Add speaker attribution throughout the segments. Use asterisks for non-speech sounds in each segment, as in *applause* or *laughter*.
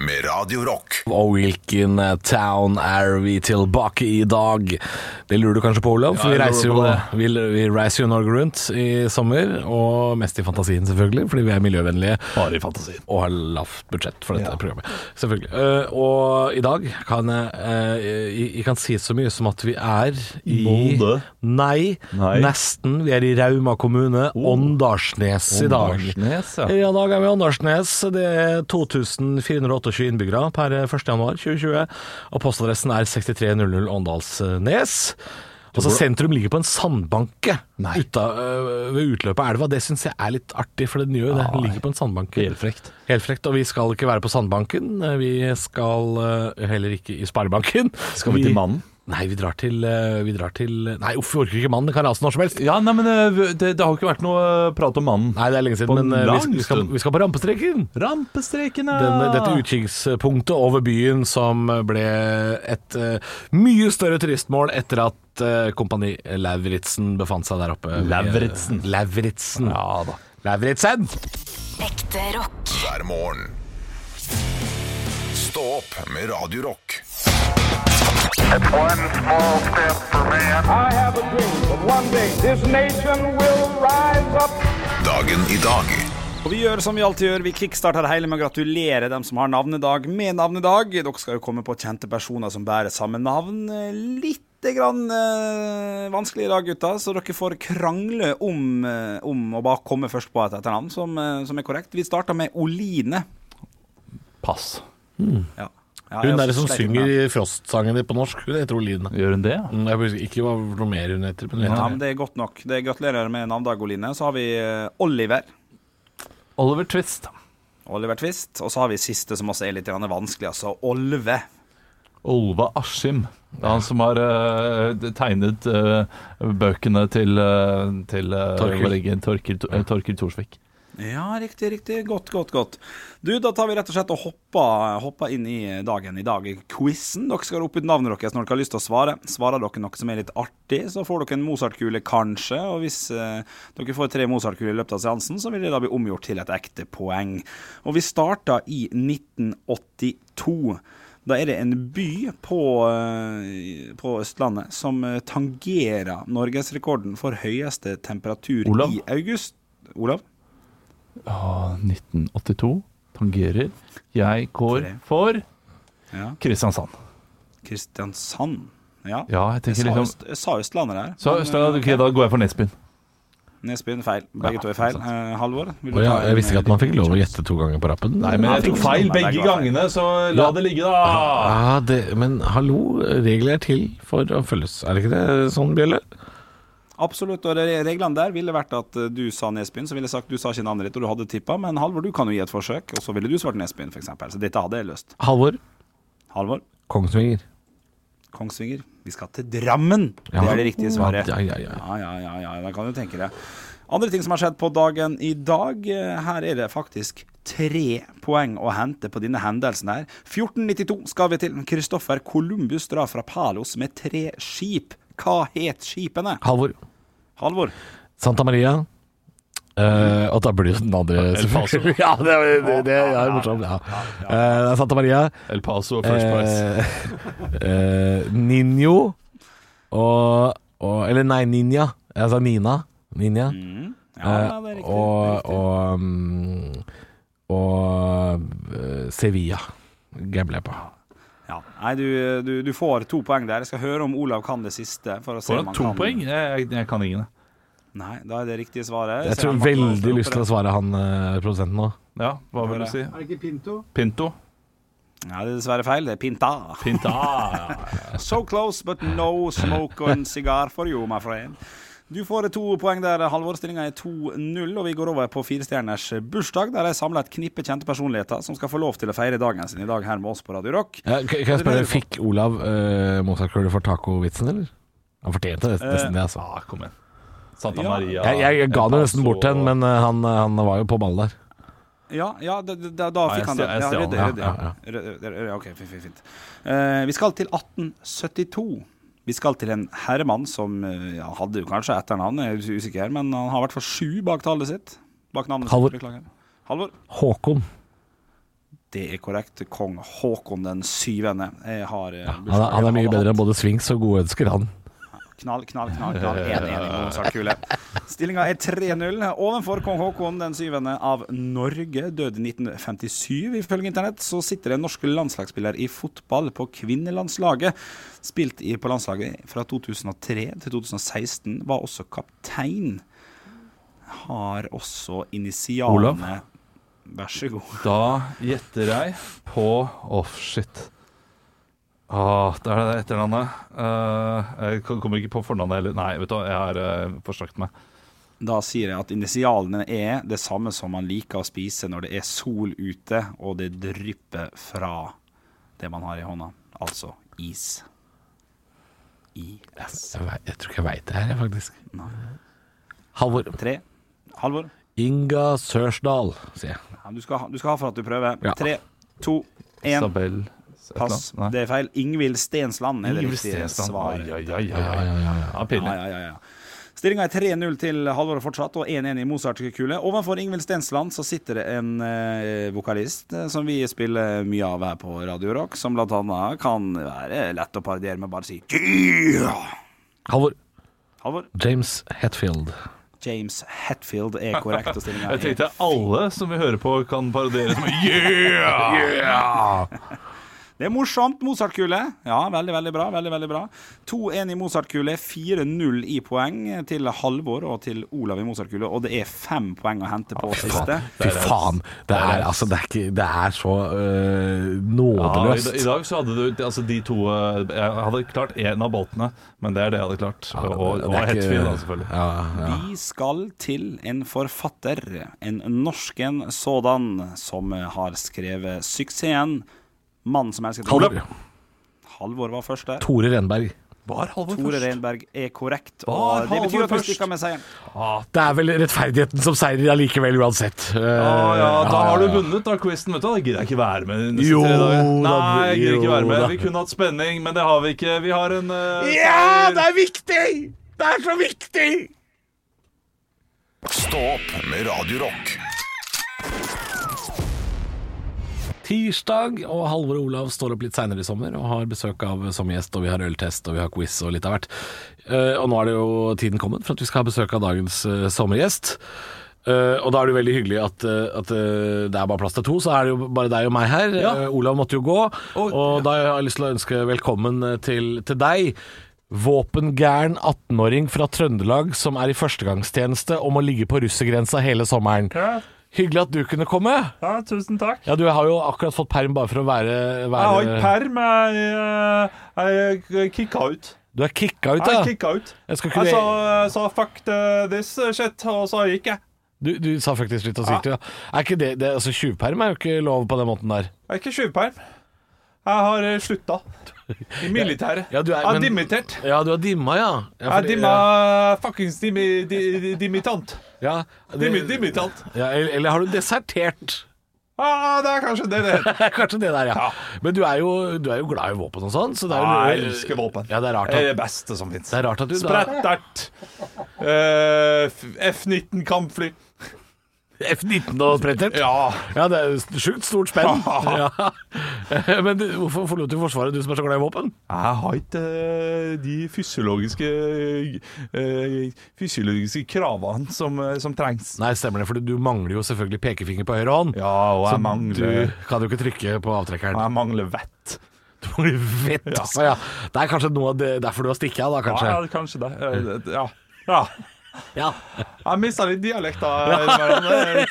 Speaker 1: med Radio Rock.
Speaker 2: Og hvilken eh, town er vi tilbake i dag? Det lurer du kanskje på, Olav. For
Speaker 3: Ja,
Speaker 2: vi
Speaker 3: jeg
Speaker 2: reiser, jo,
Speaker 3: lurer
Speaker 2: vi, vi reiser jo Norge rundt i sommer, og mest i fantasien selvfølgelig, fordi vi er miljøvennlige.
Speaker 3: Bare i fantasien.
Speaker 2: Og har lavt budsjett for dette
Speaker 3: Ja.
Speaker 2: programmet. Selvfølgelig. Eh, og i dag kan jeg, eh, jeg, jeg kan si så mye som at vi er i
Speaker 3: Molde.
Speaker 2: Nei,
Speaker 3: Nei. Oh.
Speaker 2: nesten. Vi er i Rauma kommune, Åndalsnes i dag.
Speaker 3: Åndalsnes, ja.
Speaker 2: I dag er vi i Åndalsnes. Det er 2428 innbyggere per 1.1.2020. Og postadressen er 6300 Åndalsnes. Altså Sentrum ligger på en sandbanke
Speaker 3: Nei.
Speaker 2: uta, øh, ved utløpet av elva. Det syns jeg er litt artig, for den gjør jo det. Den ligger på en sandbanke.
Speaker 3: Ah, Helt frekt.
Speaker 2: Helt frekt, Og vi skal ikke være på sandbanken. Vi skal øh, heller ikke i sparebanken.
Speaker 3: Skal vi til Mannen?
Speaker 2: Nei, vi drar til, øh, vi drar til Nei, uff, vi orker ikke Mannen. Det kan rase når som helst.
Speaker 3: Ja, nei, men eh, det, det har jo ikke vært noe eh, prat om mannen.
Speaker 2: Nei, det er lenge
Speaker 3: På
Speaker 2: siden, men øh,
Speaker 3: lang
Speaker 2: vi, vi, skal,
Speaker 3: stund.
Speaker 2: vi skal på rampestreken.
Speaker 3: Rampestrekene!
Speaker 2: Den, eh, dette utkikkspunktet over byen som ble et eh, mye større turistmål etter at eh, Kompani Lauritzen befant seg der oppe.
Speaker 3: Lauritzen.
Speaker 2: Lauritzen.
Speaker 3: Ja da.
Speaker 2: Lauritzen!
Speaker 4: Ekte rock.
Speaker 1: Hver morgen. Stå opp med Radio Rock.
Speaker 5: One small step for man.
Speaker 6: I have a dream that one day this nation will rise up.
Speaker 1: Dagen i dag.
Speaker 7: Og vi gjør som vi alltid gjør, vi kickstarter det hele med å gratulere dem som har navnedag med navnedag. Dere skal jo komme på kjente personer som bærer samme navn. Litt grann eh, vanskelig i dag, gutta, så dere får krangle om, eh, om å bare komme først på et etternavn som, eh, som er korrekt. Vi starter med Oline.
Speaker 3: Pass.
Speaker 7: Ja. Ja, jeg
Speaker 2: Hun
Speaker 7: har
Speaker 2: der som
Speaker 7: slet litt med
Speaker 2: synger i Frost-sangen din på norsk, hun heter Oline.
Speaker 3: Gjør hun det? ja?
Speaker 2: Mm, Jeg husker ikke hva noe mer hun heter. Men hun
Speaker 7: Ja,
Speaker 2: heter
Speaker 7: men det er godt nok. Det Gratulerer med navnedag, Oline. Så har vi eh, Oliver.
Speaker 3: Oliver Twist.
Speaker 7: Oliver Twist. Og så har vi siste, som også er litt grann vanskelig, altså Olve.
Speaker 3: Olva Askim. Det er han som har eh, tegnet eh, bøkene til, eh, til eh,
Speaker 2: Torkil.
Speaker 3: vår egen Torkil, uh, Torkil Thorsvik.
Speaker 7: Ja, riktig, riktig. Godt, godt, godt. Du, da tar vi rett og slett og hopper, hopper inn i dagen i dag. Quizen. Dere skal rope ut navnet deres når dere har lyst til å svare. Svarer dere noe som er litt artig, så får dere en Mozart-kule, kanskje. Og hvis eh, dere får tre Mozart-kuler i løpet av seansen, så vil det da bli omgjort til et ekte poeng. Og vi starter i 1982. Da er det en by på, eh, på Østlandet som eh, tangerer norgesrekorden for høyeste temperatur
Speaker 3: Olav?
Speaker 7: i august. Olav?
Speaker 3: Ah, 1982 tangerer. Jeg går
Speaker 7: Tre.
Speaker 3: for
Speaker 7: Ja.
Speaker 3: Kristiansand.
Speaker 7: Kristiansand. Ja.
Speaker 3: Ja, jeg
Speaker 7: jeg,
Speaker 3: tenker
Speaker 7: sa,
Speaker 3: liksom
Speaker 7: Øst- jeg sa Østlandet der.
Speaker 3: Så
Speaker 7: men,
Speaker 3: Østlandet,
Speaker 7: eh,
Speaker 3: ok, da går jeg for Nesbyen.
Speaker 7: Nesbyen feil. Begge
Speaker 3: Ja,
Speaker 7: to er feil.
Speaker 3: sant.
Speaker 7: Eh, Halvor? vil du
Speaker 2: Å ja,
Speaker 7: ta en- eh,
Speaker 2: jeg visste ikke at man fikk lov å gjette to ganger på rappen.
Speaker 3: Nei, men
Speaker 7: Nei,
Speaker 3: jeg tok
Speaker 7: ikke
Speaker 3: feil
Speaker 7: sant, men
Speaker 3: begge
Speaker 7: begge var feil.
Speaker 3: gangene, så la det ligge, da.
Speaker 2: Ja, det, men hallo, regler er til for å følges. Er det ikke det sånn, Bjelle?
Speaker 7: Absolutt. Og re- reglene der ville vært at eh, du sa Nesbyen, så ville jeg sagt du sa ikke navnet ditt, og du hadde tippa, men Halvor, du kan jo gi et forsøk, og så ville du svart Nesbyen, f.eks. Så dette hadde jeg løst.
Speaker 2: Halvor.
Speaker 7: Halvor?
Speaker 2: Kongsvinger.
Speaker 7: Kongsvinger? Vi skal til Drammen! Det
Speaker 2: Ja.
Speaker 7: er det riktige svaret.
Speaker 2: Ja, ja, ja, ja.
Speaker 7: Ja, ja, ja, ja, da kan du tenke det. Andre ting som har skjedd på dagen i dag. eh, Her er det faktisk tre poeng å hente på denne hendelsen her. 1492 skal vi til. Kristoffer Columbus drar fra Palos med tre skip. Hva het skipene?
Speaker 2: Halvor.
Speaker 7: Halvor?
Speaker 2: Santa Maria. Eh, og da blir jo den andre selvfølgelig *laughs* Ja, det, er- det, det er morsomt. Ja. Eh, det er Santa Maria.
Speaker 3: El Paso
Speaker 2: Eh, *laughs* Ninjo og, og Eller nei, Ninja. Jeg sa Nina. Ninja.
Speaker 7: Ja, det er riktig. det er
Speaker 2: Eh,
Speaker 7: riktig.
Speaker 2: og og, mm, og eh, Sevilla gambler jeg på.
Speaker 7: ja. Nei, du, du, du får to poeng der. Jeg skal høre om Olav kan det siste. For å se
Speaker 3: Får
Speaker 7: om
Speaker 3: han
Speaker 7: han
Speaker 3: to
Speaker 7: kan.
Speaker 3: poeng? Jeg, jeg, jeg kan ingen, jeg.
Speaker 7: Nei, da er det riktige svaret.
Speaker 2: Jeg
Speaker 7: Se
Speaker 2: tror
Speaker 7: om han kan
Speaker 2: veldig
Speaker 7: operere.
Speaker 2: lyst til å svare han eh, produsenten nå.
Speaker 3: Ja, hva vil du si? Er det ikke Pinto?
Speaker 7: Nei, det er dessverre feil. Det er Pinta.
Speaker 3: *laughs* Pinto. Ah, Pinta.
Speaker 7: So close, but no smoke and cigar for you, my friend. Du får to poeng der, Halvor. Stillinga er 2-0, og vi går over på firestjerners bursdag, der jeg samler et knippe kjente personligheter som skal få lov til å feire dagen sin i dag her med oss på Radio Rock.
Speaker 2: Ja, kan kan jeg spørre, fikk Olav uh, Mozart-kule for taco-vitsen, eller? Han fortjente det nesten det, altså.
Speaker 3: Ah, kom igjen. Santa
Speaker 7: Ja.
Speaker 3: Maria.
Speaker 2: Jeg, jeg, jeg ga
Speaker 3: El
Speaker 2: det nesten
Speaker 3: Paso
Speaker 2: bort til han, men eh, han, han var jo på ballen der.
Speaker 7: Ja, ja, da, da, da
Speaker 3: jeg
Speaker 7: fikk han det.
Speaker 3: stjal- jeg
Speaker 7: Ja,
Speaker 3: stjal
Speaker 7: ryddig,
Speaker 3: den.
Speaker 7: ryddig. Ryddig, ryddig, ryddig. OK, fint, fint. fint. Eh, vi skal til 1872. Vi skal til en herremann som eh, ja, hadde jo kanskje etternavn, jeg er usikker, men han har i hvert fall sju bak tallet sitt. Bak navnet
Speaker 2: Halvor.
Speaker 7: sitt, beklager. Halvor.
Speaker 2: Håkon.
Speaker 7: Det er korrekt. Kong Håkon den syvende. Jeg har eh,
Speaker 2: Han er, han er mye
Speaker 7: hadde
Speaker 2: bedre
Speaker 7: hatt-
Speaker 2: enn både Swings og godønsker, han.
Speaker 7: Knall, knall, knall. knall. 1-1 i Mozart-kule. Stillinga er 3-0 ovenfor kong Haakon den syvende av Norge. Død i 1957, ifølge internett. Så sitter det en norsk landslagsspiller i fotball på kvinnelandslaget. Spilt i, på landslaget fra 2003 til 2016. Var også kaptein. Har også
Speaker 3: Olav?
Speaker 7: initialene Vær så god.
Speaker 3: Da gjetter jeg på Åh, shit. Åh, Ah, det er det etternavnet. Eh, jeg kom- kommer ikke på fornavnet heller. Nei, vet du hva, jeg har eh, forsøkt meg.
Speaker 7: Da sier jeg at initialene er det samme som man liker å spise når det er sol ute, og det drypper fra det man har i hånda. Altså is. IS.
Speaker 2: Jeg, vei- jeg tror ikke jeg veit det her, jeg, faktisk. Halvor.
Speaker 7: Tre. Halvor,
Speaker 2: Inga Sørsdal, sier jeg.
Speaker 7: ja, du skal, ha- du skal ha for at du prøver.
Speaker 2: Ja.
Speaker 7: Tre, to, én.
Speaker 3: Isabel et eller
Speaker 7: Pass.
Speaker 3: annet. Nei.
Speaker 7: Det er feil. Ingvild Stensland er det
Speaker 3: Ingrid
Speaker 7: riktige
Speaker 3: Stensland.
Speaker 7: svaret.
Speaker 3: Ai, ai, ai, ai, ai. Ja, pinlig.
Speaker 7: Ja, ja, ja, ja. Stillinga er 3-0 til Halvor fortsatt, og 1-1 i Mozart-kule. Ovenfor Ingvild Stensland så sitter det en eh, vokalist eh, som vi spiller mye av her på Radio Rock, som blant annet kan være lett å parodiere med bare å si «Yeah!»
Speaker 2: Halvor.
Speaker 7: Halvor.
Speaker 2: James Hetfield.
Speaker 7: James Hetfield er korrekt, og *laughs* stillinga
Speaker 3: Jeg
Speaker 7: er
Speaker 3: tenkte alle som vi hører på, kan parodiere som Yeah! *laughs*
Speaker 7: Det er morsomt, Mozart-kule. Ja, veldig, veldig bra. veldig, veldig bra. 2-1 i Mozart-kule, 4-0 i poeng til Halvor og til Olav i Mozart-kule, og det er fem poeng å hente på siste.
Speaker 2: Fy faen. Det er altså Det er, ikke, det er så øh, nådeløst.
Speaker 3: Ja, i, I dag så hadde du altså, de to eh, Jeg hadde klart én av boltene, men det er det jeg hadde klart.
Speaker 2: Ja, det-
Speaker 3: og
Speaker 2: det er
Speaker 3: og
Speaker 2: ikke-
Speaker 3: Hetfield, da, selvfølgelig.
Speaker 2: Ja, ja.
Speaker 7: Vi skal til en forfatter, en norsken sådan, som har skrevet suksessen 'Mannen som elsket
Speaker 2: Halvor.
Speaker 7: Halvor var først der.
Speaker 2: Tore Renberg.
Speaker 3: Var Halvor
Speaker 7: Tore
Speaker 3: først?
Speaker 7: Renberg er korrekt,
Speaker 3: Var
Speaker 7: og det betyr
Speaker 3: Halvor
Speaker 7: at vi
Speaker 3: først?
Speaker 7: stikker med seieren.
Speaker 2: Ah, Det er vel rettferdigheten som seier allikevel, uansett. Eh,
Speaker 3: Ja, Ah, ja, da har du
Speaker 2: ja, ja.
Speaker 3: vunnet da, quizen. Vet du. Da gidder jeg ikke være med. de neste
Speaker 2: Jo
Speaker 3: tre dager.
Speaker 2: da,
Speaker 3: Nei, jeg gidder
Speaker 2: jo
Speaker 3: ikke være med.
Speaker 2: da.
Speaker 3: Vi kunne hatt spenning, men det har vi ikke. Vi har en eh,
Speaker 2: Ja, det er viktig! Det er så viktig!
Speaker 1: Stå opp med Radio Rock.
Speaker 2: Tirsdag, og Halvor og Olav står opp litt seinere i sommer og har besøk av som gjest, og vi har øltest og vi har quiz og litt av hvert. Eh, og nå er det jo tiden kommet for at vi skal ha besøk av dagens eh, sommergjest. Eh, og da er det jo veldig hyggelig at, eh, at eh, det er bare plass til to, så er det jo bare deg og meg her. Eh, Olav måtte jo gå, og, da har jeg lyst til å ønske velkommen eh, til, til deg. Våpengæren 18-åring fra Trøndelag som er i førstegangstjeneste og må ligge på russergrensa hele sommeren. Hyggelig at du kunne komme.
Speaker 8: Ja, tusen takk.
Speaker 2: Ja, du har jo akkurat fått perm bare for å være,
Speaker 8: Jeg har ikke
Speaker 2: være
Speaker 8: perm, jeg, eh, jeg, jeg kicka ut.
Speaker 2: Du er kicka ut,
Speaker 8: Jeg
Speaker 2: ja.
Speaker 8: kicka ut.
Speaker 2: Jeg skal ikke
Speaker 8: Jeg
Speaker 2: det-
Speaker 8: sa,
Speaker 3: eh,
Speaker 8: jeg sa fuck the- this shit, og så gikk jeg.
Speaker 2: Du, du sa faktisk litt av sikt, ja. Er ikke det, det altså Tjuvperm er jo ikke lov på den måten der.
Speaker 8: Jeg er ikke tjuvperm. Jeg har eh, slutta. I militæret.
Speaker 2: Ja, du er-
Speaker 8: jeg har
Speaker 2: men-
Speaker 8: dimittert.
Speaker 2: Ja, du har dimma, ja. ja
Speaker 8: Jeg er
Speaker 2: fordi-
Speaker 8: dimma fuckings dimi, di, di, dimittant.
Speaker 2: Ja, det,
Speaker 8: Dimi, dimittant.
Speaker 2: ja, eller, eller har du desertert?
Speaker 8: Ah, det er kanskje det det heter.
Speaker 2: Kanskje *laughs* det der, ja. Men du er jo, du er jo glad i våpen og sånn, så det er jo
Speaker 8: Ja, jeg elsker våpen. Eh,
Speaker 2: Ja, det er rart
Speaker 8: Det er
Speaker 2: at,
Speaker 8: det beste som fins.
Speaker 2: det er rart at du da
Speaker 8: Sprettert. Eh, F-19 kampfly.
Speaker 2: F-19 og sprettert.
Speaker 8: Ja.
Speaker 2: Ja, det er jo sjukt stort
Speaker 8: *laughs*
Speaker 2: spenn. Ja. *laughs* Men du, hvorfor forlot du Forsvaret, du som er så glad i våpen?
Speaker 8: Jeg har ikke eh, de fysiologiske eh, Fysiologiske kravene som, eh, som trengs.
Speaker 2: Nei, stemmer det, for du mangler jo selvfølgelig pekefinger på høyre hånd.
Speaker 8: Ja, og jeg mangler,
Speaker 2: Du kan jo ikke trykke på
Speaker 8: og
Speaker 2: avtrekkeren.
Speaker 8: jeg mangler vett.
Speaker 2: Du blir fett, altså. Ja. Det er kanskje noe av det, derfor du har stikket av, da,
Speaker 8: Ja,
Speaker 2: kanskje.
Speaker 8: ja, kanskje det. Eh, det- Ja. ja.
Speaker 2: Ja, *laughs*
Speaker 8: Jeg mista litt eh, dialekt da. innimellom.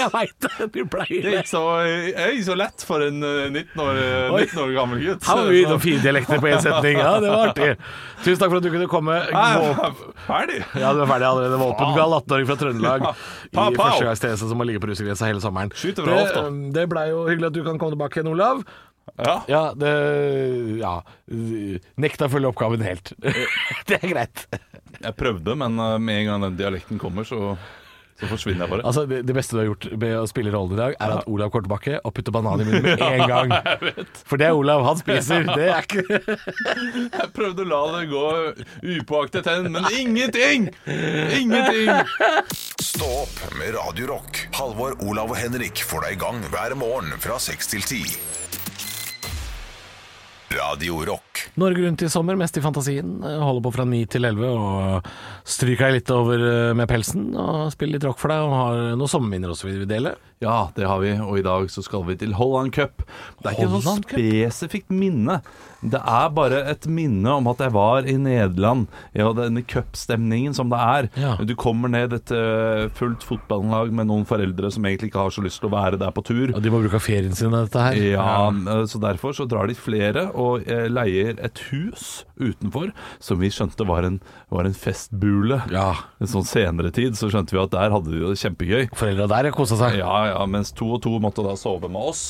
Speaker 2: jeg veit det. Du pleier
Speaker 8: Det
Speaker 2: det.
Speaker 8: gikk så, jeg gikk så lett for en eh, 19 år, eh, 19 år gammel gutt.
Speaker 2: Her var vi innom fire dialekter på én setning. sånn. Ja, det var artig. Tusen takk for at du kunne komme.
Speaker 8: Jeg
Speaker 2: Våp-
Speaker 8: er ferdig.
Speaker 2: Ja, du er ferdig allerede. Våpengal 18-åring fra Trøndelag i
Speaker 8: Pow, pow.
Speaker 2: førstegangstjeneste som må ligge på russegrensa hele sommeren.
Speaker 8: Skyter fra
Speaker 2: det um,
Speaker 8: hofta.
Speaker 2: det blei jo hyggelig at du kan komme tilbake igjen, Olav.
Speaker 8: Ja.
Speaker 2: Ja, det Ja. Nekta å følge oppgaven helt. *laughs* Det er greit.
Speaker 8: Jeg prøvde, men eh, med en gang den dialekten kommer, så
Speaker 3: Så forsvinner jeg bare.
Speaker 2: Altså, det, det beste du har gjort med å spille rollen i dag, er at Olav Kortbakke og putter banan i *laughs* munnen med en gang. For det er Olav, han spiser. Det er ikke
Speaker 3: Jeg prøvde å la det gå upåaktet hen, men ingenting! Ingenting!
Speaker 1: Stå opp med Radio Rock. Halvor, Olav og Henrik får deg i gang hver morgen fra 6 til 10. Radio Rock.
Speaker 2: *laughs* Norge rundt i sommer, mest i fantasien. Holder på fra 9 til 11 og stryker deg litt over eh, med pelsen og spiller litt rock for deg og har noen sommerminner også vi vil dele.
Speaker 3: Ja, det har vi, og i dag så skal vi til Holland Cup. Det er ikke et
Speaker 2: Holland
Speaker 3: sånt
Speaker 2: Cup?
Speaker 3: spesifikt minne. Det er bare et minne om at jeg var i Nederland, ja, denne cupstemningen som det er.
Speaker 2: Ja.
Speaker 3: Du kommer ned et eh, fullt fotballag med noen foreldre som egentlig ikke har så lyst til å være der på tur.
Speaker 2: Og de må bruke av ferien sin i dette her.
Speaker 3: Ja, eh, så derfor så drar de flere og eh, leier et hus utenfor, som vi skjønte var en, var en festbule.
Speaker 2: Ja.
Speaker 3: En sånn senere tid så skjønte vi at der hadde vi det kjempegøy.
Speaker 2: Foreldra der har kosa seg.
Speaker 3: *laughs* Ja, ja, mens to og to måtte da sove med oss.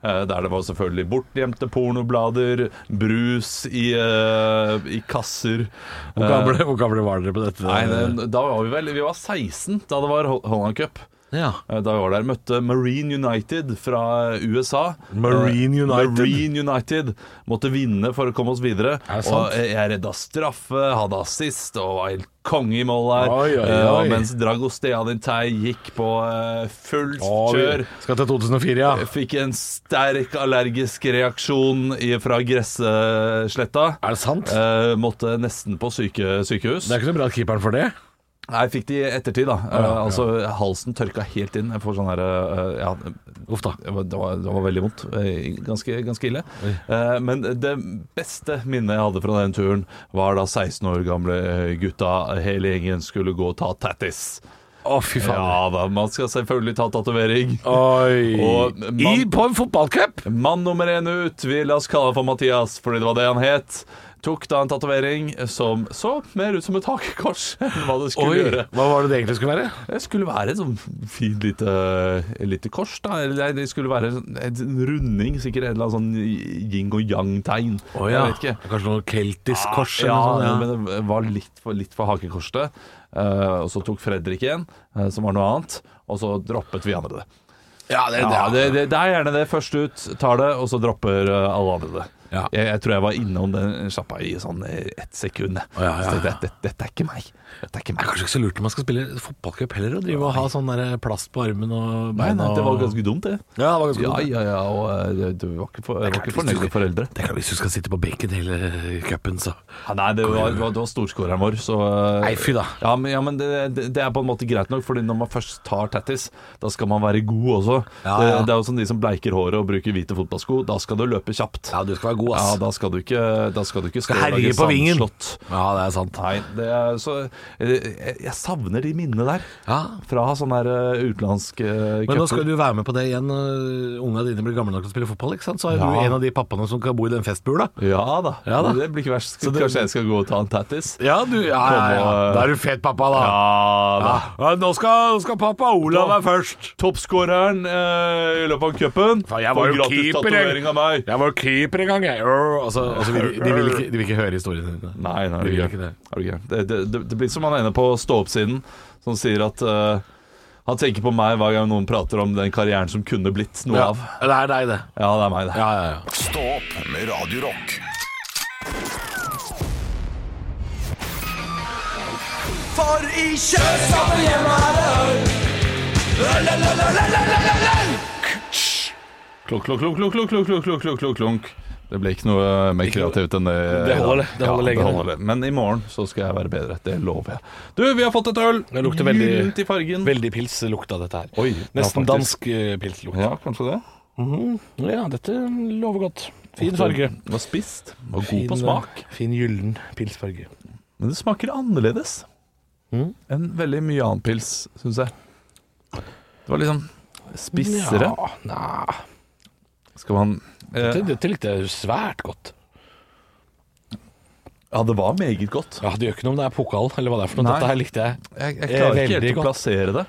Speaker 3: eh, Der det var selvfølgelig bortgjemte pornoblader, brus i, eh, i kasser. Eh,
Speaker 2: Hvor gamle, hvor gamle var dere på dette?
Speaker 3: Nei, det- da var vi vel Vi var 16 da det var Hol- Holland Cup.
Speaker 2: ja.
Speaker 3: Eh, Da vi var der, møtte Marine United fra USA.
Speaker 2: Marine
Speaker 3: Eh,
Speaker 2: United?
Speaker 3: Marine United Måtte vinne for å komme oss videre.
Speaker 2: Er det sant?
Speaker 3: Og eh, jeg redda straffe, hadde assist og var helt konge i mål der.
Speaker 2: Oi, oi,
Speaker 3: Eh, og
Speaker 2: oi.
Speaker 3: mens Dragostean Intei gikk på eh, fullt
Speaker 2: Å, vi
Speaker 3: kjør.
Speaker 2: skal til 2004, ja.
Speaker 3: Jeg fikk en sterk allergisk reaksjon i- fra gressletta.
Speaker 2: Er det sant?
Speaker 3: Eh, måtte nesten på syke, sykehus.
Speaker 2: Det er ikke så bra at keeperen får det.
Speaker 3: Nei, jeg fikk det i ettertid, da. Eh,
Speaker 2: ja.
Speaker 3: Altså, halsen tørka helt inn. Jeg får sånn her eh, Ja,
Speaker 2: Uff da.
Speaker 3: det var, det var, det var veldig vondt. Eh, Ganske, ganske ille. Eh, men det beste minnet jeg hadde fra den turen, var da 16 år gamle gutta, hele gjengen, skulle gå og ta tattis.
Speaker 2: Å, fy faen.
Speaker 3: Ja da, man skal selvfølgelig ta tatovering.
Speaker 2: Oi.
Speaker 3: Og
Speaker 2: I,
Speaker 3: man-
Speaker 2: på en fotballcup?
Speaker 3: Mann nummer én ut, vi la oss kalle han for Mathias, fordi det var det han het. Tok da en tatovering som så mer ut som et hakekors *laughs* enn hva det skulle
Speaker 2: Oi,
Speaker 3: gjøre.
Speaker 2: hva var det det egentlig skulle være?
Speaker 3: Det skulle være et sånn fint lite, lite kors, da. Eller nei, det skulle være sånn- en runding, sikkert et eller annet sånn yin og yang-tegn. Jeg vet ikke.
Speaker 2: Kanskje noe keltisk kors
Speaker 3: ja,
Speaker 2: eller noe sånt?
Speaker 3: men det var litt for, litt for hakekorset. Eh, og så tok Fredrik en, eh, som var noe annet, og så droppet vi andre det.
Speaker 2: Ja, det,
Speaker 3: Ja, det, det, det er gjerne det. Først ut tar det, og så dropper eh, alle andre det.
Speaker 2: Ja.
Speaker 3: Jeg, jeg tror jeg var innom den sjappa i sånn eh, ett sekund.
Speaker 2: Å, ja, ja,
Speaker 3: Så
Speaker 2: ja.
Speaker 3: tenkte jeg, dette, dette er ikke meg. Dette er ikke
Speaker 2: er
Speaker 3: meg.
Speaker 2: kanskje ikke så lurt når man skal spille fotballcup heller, å drive og ha sånn der plast på armen og
Speaker 3: Nei,
Speaker 2: beina.
Speaker 3: nei, det var
Speaker 2: og-
Speaker 3: ganske dumt, det.
Speaker 2: Ja, det var ganske
Speaker 3: Ja,
Speaker 2: dumt.
Speaker 3: ja, ja. Og eh, det, det var ikke, for, jeg var
Speaker 2: klart,
Speaker 3: ikke fornøyd med foreldre.
Speaker 2: Tenk deg hvis du skal sitte på benken hele cupen, så
Speaker 3: Ja, nei, det var, det var, det var storskåreren vår, så eh,
Speaker 2: Nei, fy da.
Speaker 3: Ja, men, ja, men det, det, det er på en måte greit nok, Fordi når man først tar tattis, da skal man være god også.
Speaker 2: Ja,
Speaker 3: det,
Speaker 2: ja.
Speaker 3: det er jo som de som bleiker håret og bruker hvite fotballsko. Da skal du løpe kjapt.
Speaker 2: Ja, du skal være god, ass.
Speaker 3: Ja, da skal du ikke, da skal du ikke stå
Speaker 2: Skal
Speaker 3: og lage
Speaker 2: herje på vingen.
Speaker 3: sandslott.
Speaker 2: Ja, det er sant.
Speaker 3: Nei, det er så eh, Jeg, jeg savner de minnene der.
Speaker 2: Ja.
Speaker 3: Fra sånne her eh, utenlandske eh,
Speaker 2: Men nå
Speaker 3: cuper.
Speaker 2: skal du være med på det igjen når unga dine blir gamle nok til å spille fotball, ikke sant? Så er du
Speaker 3: Ja.
Speaker 2: en av de pappaene som kan bo i den festbula.
Speaker 3: Ja da.
Speaker 2: Ja da.
Speaker 3: Det blir ikke verst. Kanskje jeg skal gå og ta en tattis?
Speaker 2: Ja, du, ja, ja, ja.
Speaker 3: Kom og-
Speaker 2: Da er du fet pappa, da.
Speaker 3: da.
Speaker 2: Ja, nå skal, skal pappa Olav være først.
Speaker 3: Toppskåreren eh, i løpet av cupen.
Speaker 2: Faen, jeg var
Speaker 3: Får
Speaker 2: jo
Speaker 3: gratis
Speaker 2: keeper, jeg.
Speaker 3: tatovering av meg.
Speaker 2: Jeg var keeper en gang, jeg. Altså, altså, de, de, vil ikke, de vil ikke høre historien din.
Speaker 3: Nei,
Speaker 2: De
Speaker 3: nei, det
Speaker 2: vil
Speaker 3: er
Speaker 2: ikke
Speaker 3: ikke
Speaker 2: det.
Speaker 3: det. Er du gæren? Det, det, det, det blir som han ene på stå-opp-siden, som sier at eh, han tenker på meg hver gang noen prater om den karrieren som kunne blitt noe
Speaker 2: Ja.
Speaker 3: av.
Speaker 2: Det er deg, det.
Speaker 3: Ja, det er meg, det.
Speaker 2: Ja, ja, ja.
Speaker 1: Stå opp med Radio Rock.
Speaker 3: Klunk, klunk, klunk, klunk, klunk, klunk, klunk, klunk, klunk, klunk, klunk. Det ble ikke noe mer kreativt enn det.
Speaker 2: Det holder, det. Det holder lenge nå.
Speaker 3: det holder. Men i morgen så skal jeg være bedre. Det lover jeg. Du, vi har fått et øl.
Speaker 2: Det lukter veldig-
Speaker 3: Gyllent i fargen.
Speaker 2: Veldig pils lukta dette her.
Speaker 3: Oi,
Speaker 2: Nesten
Speaker 3: ja, faktisk.
Speaker 2: dansk eh, pils lukta.
Speaker 3: Ja, kanskje det.
Speaker 2: Ja, dette lover godt. Fin
Speaker 3: Det Var spist. Det Var god på smak.
Speaker 2: eh, Fin gyllen pilsfarge.
Speaker 3: Men det smaker annerledes
Speaker 2: Mm.
Speaker 3: enn veldig mye annen pils, syns jeg. Det var liksom spissere.
Speaker 2: Ja, nei.
Speaker 3: Skal man eh,
Speaker 2: Dette, dette likte jeg svært godt.
Speaker 3: Ja, det var meget godt.
Speaker 2: Ja, Det gjør ikke noe om det er pokal eller hva det er for noe.
Speaker 3: Nei.
Speaker 2: Dette her likte jeg.
Speaker 3: Jeg, jeg
Speaker 2: Eh,
Speaker 3: klarer ikke
Speaker 2: veldig
Speaker 3: helt å
Speaker 2: godt.
Speaker 3: plassere det.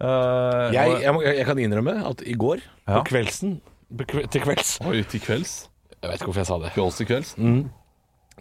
Speaker 3: Eh,
Speaker 2: Jeg,
Speaker 3: og-
Speaker 2: jeg, må- jeg kan innrømme at i går, på
Speaker 3: Ja.
Speaker 2: kveldsen på kve, Til kvelds
Speaker 3: Oi, til kvelds.
Speaker 2: Jeg vet ikke hvorfor jeg sa det.
Speaker 3: Til oss til kvelds.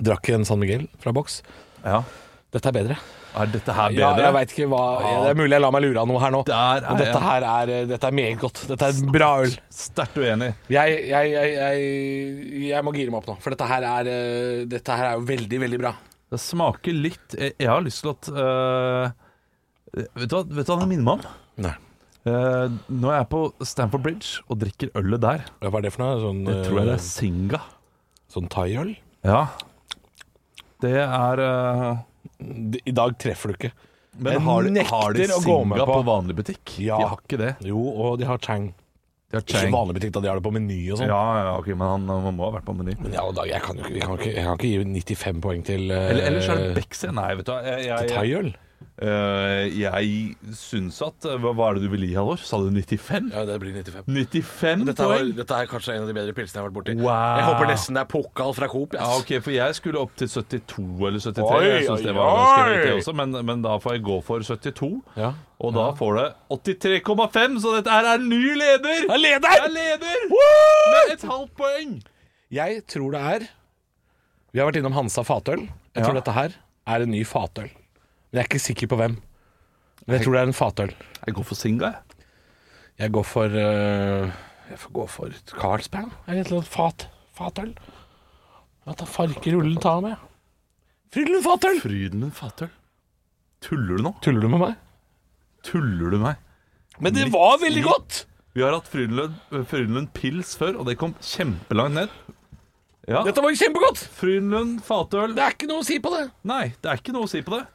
Speaker 2: Drakk en San Miguel fra boks.
Speaker 3: Ja.
Speaker 2: Dette er bedre.
Speaker 3: Er dette her
Speaker 2: Ja,
Speaker 3: bedre?
Speaker 2: jeg vet ikke hva Det er mulig jeg lar meg lure av noe her nå.
Speaker 3: Der er
Speaker 2: Og
Speaker 3: jeg.
Speaker 2: dette her er, eh, dette er meget godt. Dette er bra øl.
Speaker 3: Sterkt uenig.
Speaker 2: Jeg, jeg, jeg, jeg, jeg må gire meg opp nå, for dette her er, eh, dette her er jo veldig, veldig bra.
Speaker 3: Det smaker litt Jeg, jeg har lyst til at øh, vet, du hva, vet du hva det minner meg om?
Speaker 2: Nei.
Speaker 3: Eh, når jeg er på Stamford Bridge og drikker ølet der,
Speaker 2: Hva er det for noe? Sånn,
Speaker 3: det tror jeg det er Singa.
Speaker 2: sånn thaiøl?
Speaker 3: Ja. Det er øh,
Speaker 2: I dag treffer du ikke.
Speaker 3: Men
Speaker 2: Jeg
Speaker 3: har de,
Speaker 2: nekter
Speaker 3: har de
Speaker 2: å gå med
Speaker 3: Singa på.
Speaker 2: på
Speaker 3: vanlig butikk?
Speaker 2: Ja.
Speaker 3: De har ikke det.
Speaker 2: Jo, og de har chang.
Speaker 3: De har
Speaker 2: Ikke
Speaker 3: Chang.
Speaker 2: vanlig butikk, da. De har det på Meny og sånn.
Speaker 3: Ja, ja, ok, men han, han må ha vært på Meny.
Speaker 2: Men i alle dager, jeg kan jo ikke, vi kan ikke, jeg kan ikke gi 95 poeng til uh,
Speaker 3: Eller, ellers er det Bexy. Nei, vet du hva. Jeg, jeg, jeg,
Speaker 2: thaiøl.
Speaker 3: øh, jeg syns at eh, hva, hva er det du vil gi, Halvor? Sa du 95?
Speaker 2: Ja, det blir 95.
Speaker 3: 95
Speaker 2: Dette, var,
Speaker 3: poeng?
Speaker 2: dette er kanskje en av de bedre pilsene jeg har vært borti.
Speaker 3: Wow.
Speaker 2: Jeg håper nesten det er pokal fra Coop.
Speaker 3: Ja,
Speaker 2: ass.
Speaker 3: ok, for jeg skulle opp til 72 eller 73.
Speaker 2: Oi,
Speaker 3: jeg synes det var
Speaker 2: oi,
Speaker 3: ganske
Speaker 2: oi.
Speaker 3: høyt, det også, men, men da får jeg gå for 72.
Speaker 2: Ja.
Speaker 3: Og da får det 83,5, så dette her er ny leder!
Speaker 2: Det er leder!
Speaker 3: Det er leder! Med et halvt poeng!
Speaker 2: Jeg tror det er Vi har vært innom Hansa fatøl. Jeg tror dette her er en ny fatøl. Men jeg er ikke sikker på hvem. Men jeg tror det er en fatøl.
Speaker 3: Jeg går for Singa, jeg.
Speaker 2: Jeg går for øh, Jeg får gå for Carlsberg. Er det et eller annet fat, fatøl? Ja, ta farkerullen ta med. Fryllen fatøl!
Speaker 3: Fryden min fatøl. Tuller du nå?
Speaker 2: Tuller du med meg?
Speaker 3: Tuller du meg?
Speaker 2: Men det var veldig godt!
Speaker 3: Vi har hatt Frydenlund eh, Frydenlund Pils før, og det kom kjempelangt ned. Ja.
Speaker 2: Dette var kjempegodt!
Speaker 3: Frydenlund fatøl
Speaker 2: Det er ikke noe å si på det.
Speaker 3: Nei, det er ikke noe å si på det.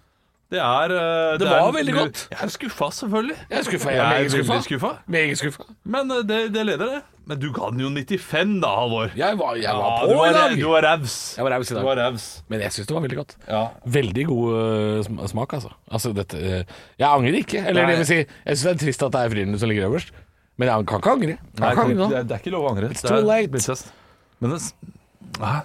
Speaker 3: Det er eh,
Speaker 2: Det
Speaker 3: er-
Speaker 2: var veldig godt.
Speaker 3: Jeg er skuffa, selvfølgelig.
Speaker 2: Jeg er skuffa. Jeg
Speaker 3: Jeg
Speaker 2: er
Speaker 3: er
Speaker 2: meget
Speaker 3: veldig
Speaker 2: skuffa.
Speaker 3: skuffa.
Speaker 2: Meget skuffa.
Speaker 3: Men eh, det, det leder det. Men du ga den jo 95, da, Halvor.
Speaker 2: Jeg var, jeg var på
Speaker 3: du
Speaker 2: i
Speaker 3: var,
Speaker 2: dag.
Speaker 3: du var raus.
Speaker 2: Jeg var raus i
Speaker 3: Du
Speaker 2: dag.
Speaker 3: var raus.
Speaker 2: Men jeg syns det var veldig godt.
Speaker 3: Ja.
Speaker 2: Veldig god øh, sm- smak, altså. altså dette, øh, jeg angrer ikke. Eller
Speaker 3: Nei.
Speaker 2: det vil si, jeg syns det er trist at det er Frydenlund som ligger øverst, men jeg kan ikke angre. Jeg kan
Speaker 3: Nei,
Speaker 2: ikke
Speaker 3: det,
Speaker 2: angre nå.
Speaker 3: er- det er ikke lov å angre. It's
Speaker 2: too late.
Speaker 3: Men det, s- ah,